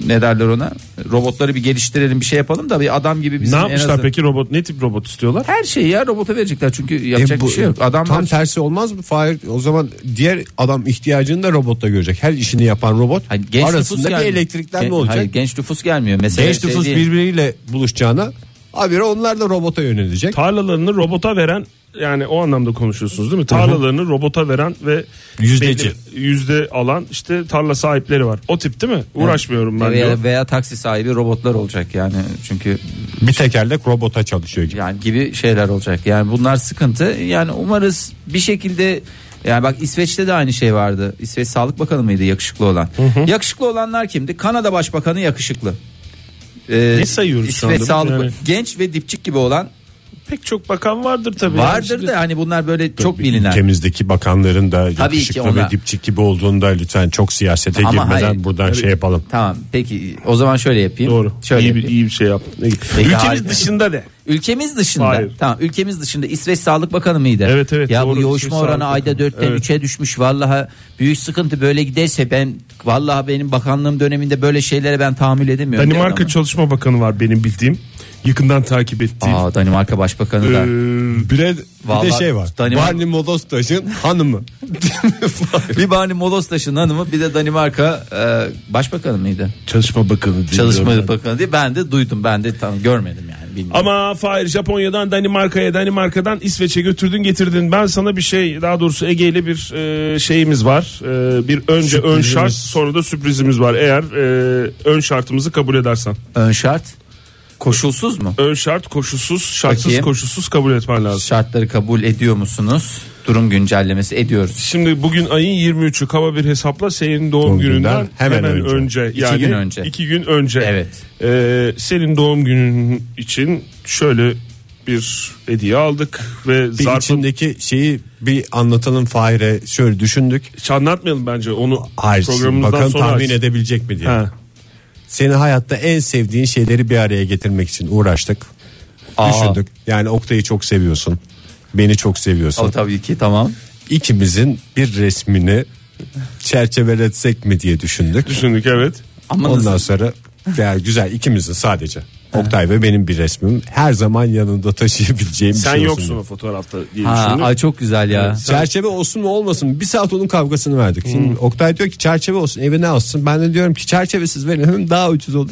Speaker 4: ne derler ona? Robotları bir geliştirelim, bir şey yapalım da bir adam gibi bizim
Speaker 3: ne
Speaker 4: en
Speaker 3: yapmışlar
Speaker 4: azından-
Speaker 3: peki robot? Ne tip robot istiyorlar?
Speaker 4: Her şeyi ya robota verecekler çünkü yapacak
Speaker 2: E bu-
Speaker 4: bir şey yok. Adamlar
Speaker 2: tam tersi olmaz mı? Fahir o zaman diğer adam ihtiyacını da robotta görecek. Her işini yapan robot.
Speaker 4: Hayır, genç nüfus
Speaker 2: arasında bir
Speaker 4: gelmiyor.
Speaker 2: elektriklenme
Speaker 4: Gen-
Speaker 2: olacak.
Speaker 4: Hayır, genç nüfus gelmiyor. şey Mesela
Speaker 2: genç nüfus birbiriyle buluşacağına habire onlar da robota yönelecek.
Speaker 3: Tarlalarını robota veren yani o anlamda konuşuyorsunuz değil mi? Tarlalarını robota veren ve
Speaker 2: Yüzdeci.
Speaker 3: belli- yüzde alan işte tarla sahipleri var. O tip değil mi? Uğraşmıyorum ben diyor.
Speaker 4: veya, veya taksi sahibi robotlar olacak yani çünkü
Speaker 2: Bir tekerlek robota çalışıyor gibi.
Speaker 4: yani gibi şeyler olacak. Yani bunlar sıkıntı. Yani umarız bir şekilde yani bak İsveç'te de aynı şey vardı. İsveç Sağlık Bakanı mıydı yakışıklı olan? Yakışıklı olanlar kimdi? Kanada Başbakanı yakışıklı. Ee,
Speaker 3: Ne sayıyoruz şu
Speaker 4: İsveç
Speaker 3: anda?
Speaker 4: Sağlık
Speaker 3: Yani-
Speaker 4: Bakanı- genç ve dipçik gibi olan
Speaker 3: Pek çok bakan vardır tabii. Yani
Speaker 4: vardır
Speaker 3: şimdi-
Speaker 4: da hani bunlar böyle çok bilinen.
Speaker 2: Ülkemizdeki bakanların da
Speaker 4: Tabii ki
Speaker 2: yakışıklı
Speaker 4: onlar-
Speaker 2: ve dipçik gibi olduğunda lütfen çok siyasete
Speaker 4: Ama
Speaker 2: girmeden
Speaker 4: hayır.
Speaker 2: buradan şey yapalım.
Speaker 4: Tamam peki o zaman şöyle yapayım.
Speaker 3: Doğru.
Speaker 4: Şöyle
Speaker 3: iyi, bir,
Speaker 4: yapayım.
Speaker 3: iyi bir şey yaptın. İyi.
Speaker 4: Peki,
Speaker 3: Ülkemiz
Speaker 4: harika.
Speaker 3: dışında ne?
Speaker 4: Ülkemiz dışında.
Speaker 3: Hayır.
Speaker 4: Tamam ülkemiz dışında İsveç Sağlık Bakanı mıydı?
Speaker 3: Evet, evet,
Speaker 4: Ya
Speaker 3: doğru,
Speaker 4: bu
Speaker 3: İsveç
Speaker 4: yoğuşma
Speaker 3: Sağlık
Speaker 4: oranı ayda
Speaker 3: Bakanı.
Speaker 4: 4'ten
Speaker 3: Evet.
Speaker 4: 3'e düşmüş. Vallahi büyük sıkıntı böyle giderse ben vallahi benim bakanlığım döneminde böyle şeylere ben tahammül edemiyorum.
Speaker 3: Danimarka
Speaker 4: diyor
Speaker 3: Çalışma Bakanı var benim bildiğim. Yakından takip ettiğim.
Speaker 4: adam. Aa Danimarka Başbakanı da.
Speaker 3: Ee,
Speaker 2: Bir de, bir de
Speaker 4: Vallahi
Speaker 2: şey var.
Speaker 4: Danimarka-
Speaker 3: Hani
Speaker 2: Barney Modostaş'ın hanımı.
Speaker 4: bir Bani Molostaş'ın hanımı bir de Danimarka e, Başbakanı mıydı?
Speaker 3: Çalışma Bakanı. diye
Speaker 4: Çalışma
Speaker 3: biliyorum ben.
Speaker 4: Bakanı diye ben de duydum. Ben de tam görmedim yani bilmiyorum.
Speaker 3: Ama Fahir Japonya'dan Danimarka'ya Danimarka'dan İsveç'e götürdün getirdin. Ben sana bir şey daha doğrusu Ege ile bir e, şeyimiz var. E, bir önce ön şart sonra da sürprizimiz var. Eğer e, ön şartımızı kabul edersen.
Speaker 4: Ön şart koşulsuz mu?
Speaker 3: Ön şart koşulsuz şartsız
Speaker 4: Bakayım.
Speaker 3: koşulsuz kabul etmen lazım.
Speaker 4: Şartları kabul ediyor musunuz? Durum güncellemesi ediyoruz.
Speaker 3: Şimdi bugün ayın 23'ü kaba bir hesapla senin doğum
Speaker 2: Doğum
Speaker 3: gününden
Speaker 2: günden
Speaker 3: hemen,
Speaker 2: hemen
Speaker 3: önce.
Speaker 2: önce.
Speaker 3: Yani
Speaker 4: gün önce.
Speaker 3: iki gün önce.
Speaker 4: Evet.
Speaker 3: Ee, senin doğum günün için şöyle bir hediye aldık ve
Speaker 2: Bir
Speaker 3: zarfın
Speaker 2: içindeki şeyi bir anlatalım Fahir'e şöyle düşündük.
Speaker 3: hiç anlatmayalım bence onu
Speaker 2: Hayır,
Speaker 3: programımızdan
Speaker 2: bakalım
Speaker 3: sonra
Speaker 2: tahmin
Speaker 3: aç.
Speaker 2: edebilecek mi diye.
Speaker 3: Ha.
Speaker 2: Seni hayatta en sevdiğin şeyleri bir araya getirmek için uğraştık.
Speaker 4: Aa.
Speaker 2: Düşündük. Yani Oktay'ı çok seviyorsun. Beni çok seviyorsun.
Speaker 4: O tabii ki tamam.
Speaker 2: İkimizin bir resmini çerçeveletsek mi diye düşündük.
Speaker 3: Düşündük evet.
Speaker 4: Ama
Speaker 2: Ondan
Speaker 4: nasıl-
Speaker 2: sonra ya güzel ikimizin sadece. Oktay ve benim bir resmim her zaman yanında taşıyabileceğim bir
Speaker 3: Sen
Speaker 2: şey olsun
Speaker 3: yoksun
Speaker 2: diye.
Speaker 3: o fotoğrafta diye
Speaker 4: Ha,
Speaker 3: düşündük.
Speaker 4: ay çok güzel ya.
Speaker 2: Çerçeve olsun mu olmasın mı? Bir saat onun kavgasını verdik. Şimdi
Speaker 4: Hmm.
Speaker 2: Oktay diyor ki çerçeve olsun eve ne alsın? Ben de diyorum ki çerçevesiz verin hem daha ucuz olur.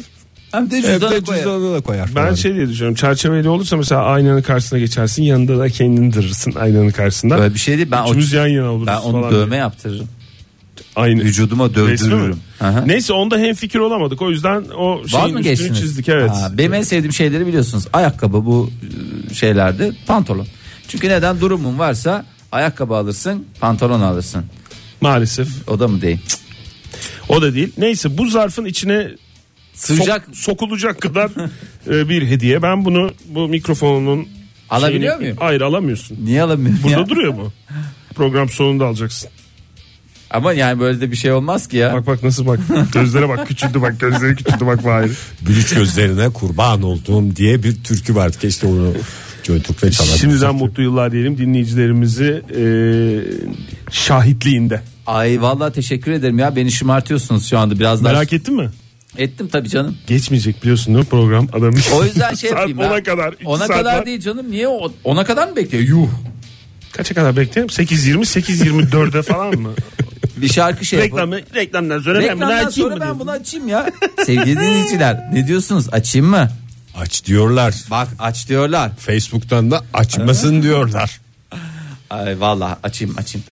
Speaker 4: Hem de
Speaker 2: Hem de
Speaker 4: cüzdanı koyar.
Speaker 2: cüzdanına da koyar.
Speaker 3: Ben
Speaker 2: falan.
Speaker 3: şey diye düşünüyorum. Çerçeveli olursa mesela aynanın karşısına geçersin. Yanında da kendini dırırsın aynanın karşısında.
Speaker 4: Böyle bir şey değil. Ben, o,
Speaker 3: Üçümüz yan yana oluruz
Speaker 4: ben onu
Speaker 3: falan
Speaker 4: dövme
Speaker 3: diye.
Speaker 4: yaptırırım.
Speaker 3: Aynı.
Speaker 4: Vücuduma
Speaker 3: Resmi mi?
Speaker 4: dövdürürüm. Aha.
Speaker 3: Neyse onda hem fikir olamadık. O yüzden o
Speaker 4: Var
Speaker 3: şeyin
Speaker 4: mı
Speaker 3: üstünü
Speaker 4: geçtiniz?
Speaker 3: çizdik evet.
Speaker 4: Ha, benim en sevdiğim şeyleri biliyorsunuz. Ayakkabı bu e, şeylerde pantolon. Çünkü neden durumun varsa ayakkabı alırsın pantolon alırsın.
Speaker 3: Maalesef.
Speaker 4: O da mı değil? Cık,
Speaker 3: O da değil. Neyse bu zarfın içine sok-
Speaker 4: Sığacak
Speaker 3: sokulacak kadar e, bir hediye. Ben bunu bu mikrofonun
Speaker 4: Alabiliyor muyum?
Speaker 3: Hayır alamıyorsun.
Speaker 4: niye alamıyorum
Speaker 3: Burada
Speaker 4: ya?
Speaker 3: duruyor mu? Program sonunda alacaksın.
Speaker 4: Ama yani böyle de bir şey olmaz ki ya.
Speaker 3: Bak bak nasıl bak. Gözlere bak küçüldü bak gözleri küçüldü bak Fahir.
Speaker 2: Bülüç gözlerine kurban olduğum diye bir türkü vardı. Keşke onu Joytürk ve çalalım.
Speaker 3: Şimdiden mutlu yıllar diyelim dinleyicilerimizi e, şahitliğinde.
Speaker 4: Ay vallahi teşekkür ederim ya beni şımartıyorsunuz şu anda biraz daha.
Speaker 3: Merak ettin mi?
Speaker 4: ettim tabii canım.
Speaker 3: Geçmeyecek biliyorsun değil mi program adamı?
Speaker 4: O yüzden şey
Speaker 3: Saat
Speaker 4: yapayım ben.
Speaker 3: ona kadar. iki
Speaker 4: Ona
Speaker 3: saat
Speaker 4: kadar
Speaker 3: var.
Speaker 4: değil canım. Niye o- ona kadar mı bekliyor? Yuh.
Speaker 3: Kaça kadar bekleyelim? 8.20 8.24'e falan mı?
Speaker 4: Bir şarkı şey yapalım.
Speaker 3: Reklamı, reklamdan sonra ben bunu
Speaker 4: Reklamdan
Speaker 3: açayım
Speaker 4: sonra
Speaker 3: mı?
Speaker 4: ben
Speaker 3: diyorsun?
Speaker 4: bunu açayım ya. Sevgili dinleyiciler ne diyorsunuz? Açayım mı?
Speaker 2: Aç diyorlar.
Speaker 4: Bak aç diyorlar.
Speaker 2: Facebook'tan da açmasın diyorlar.
Speaker 4: Ay vallahi açayım açayım.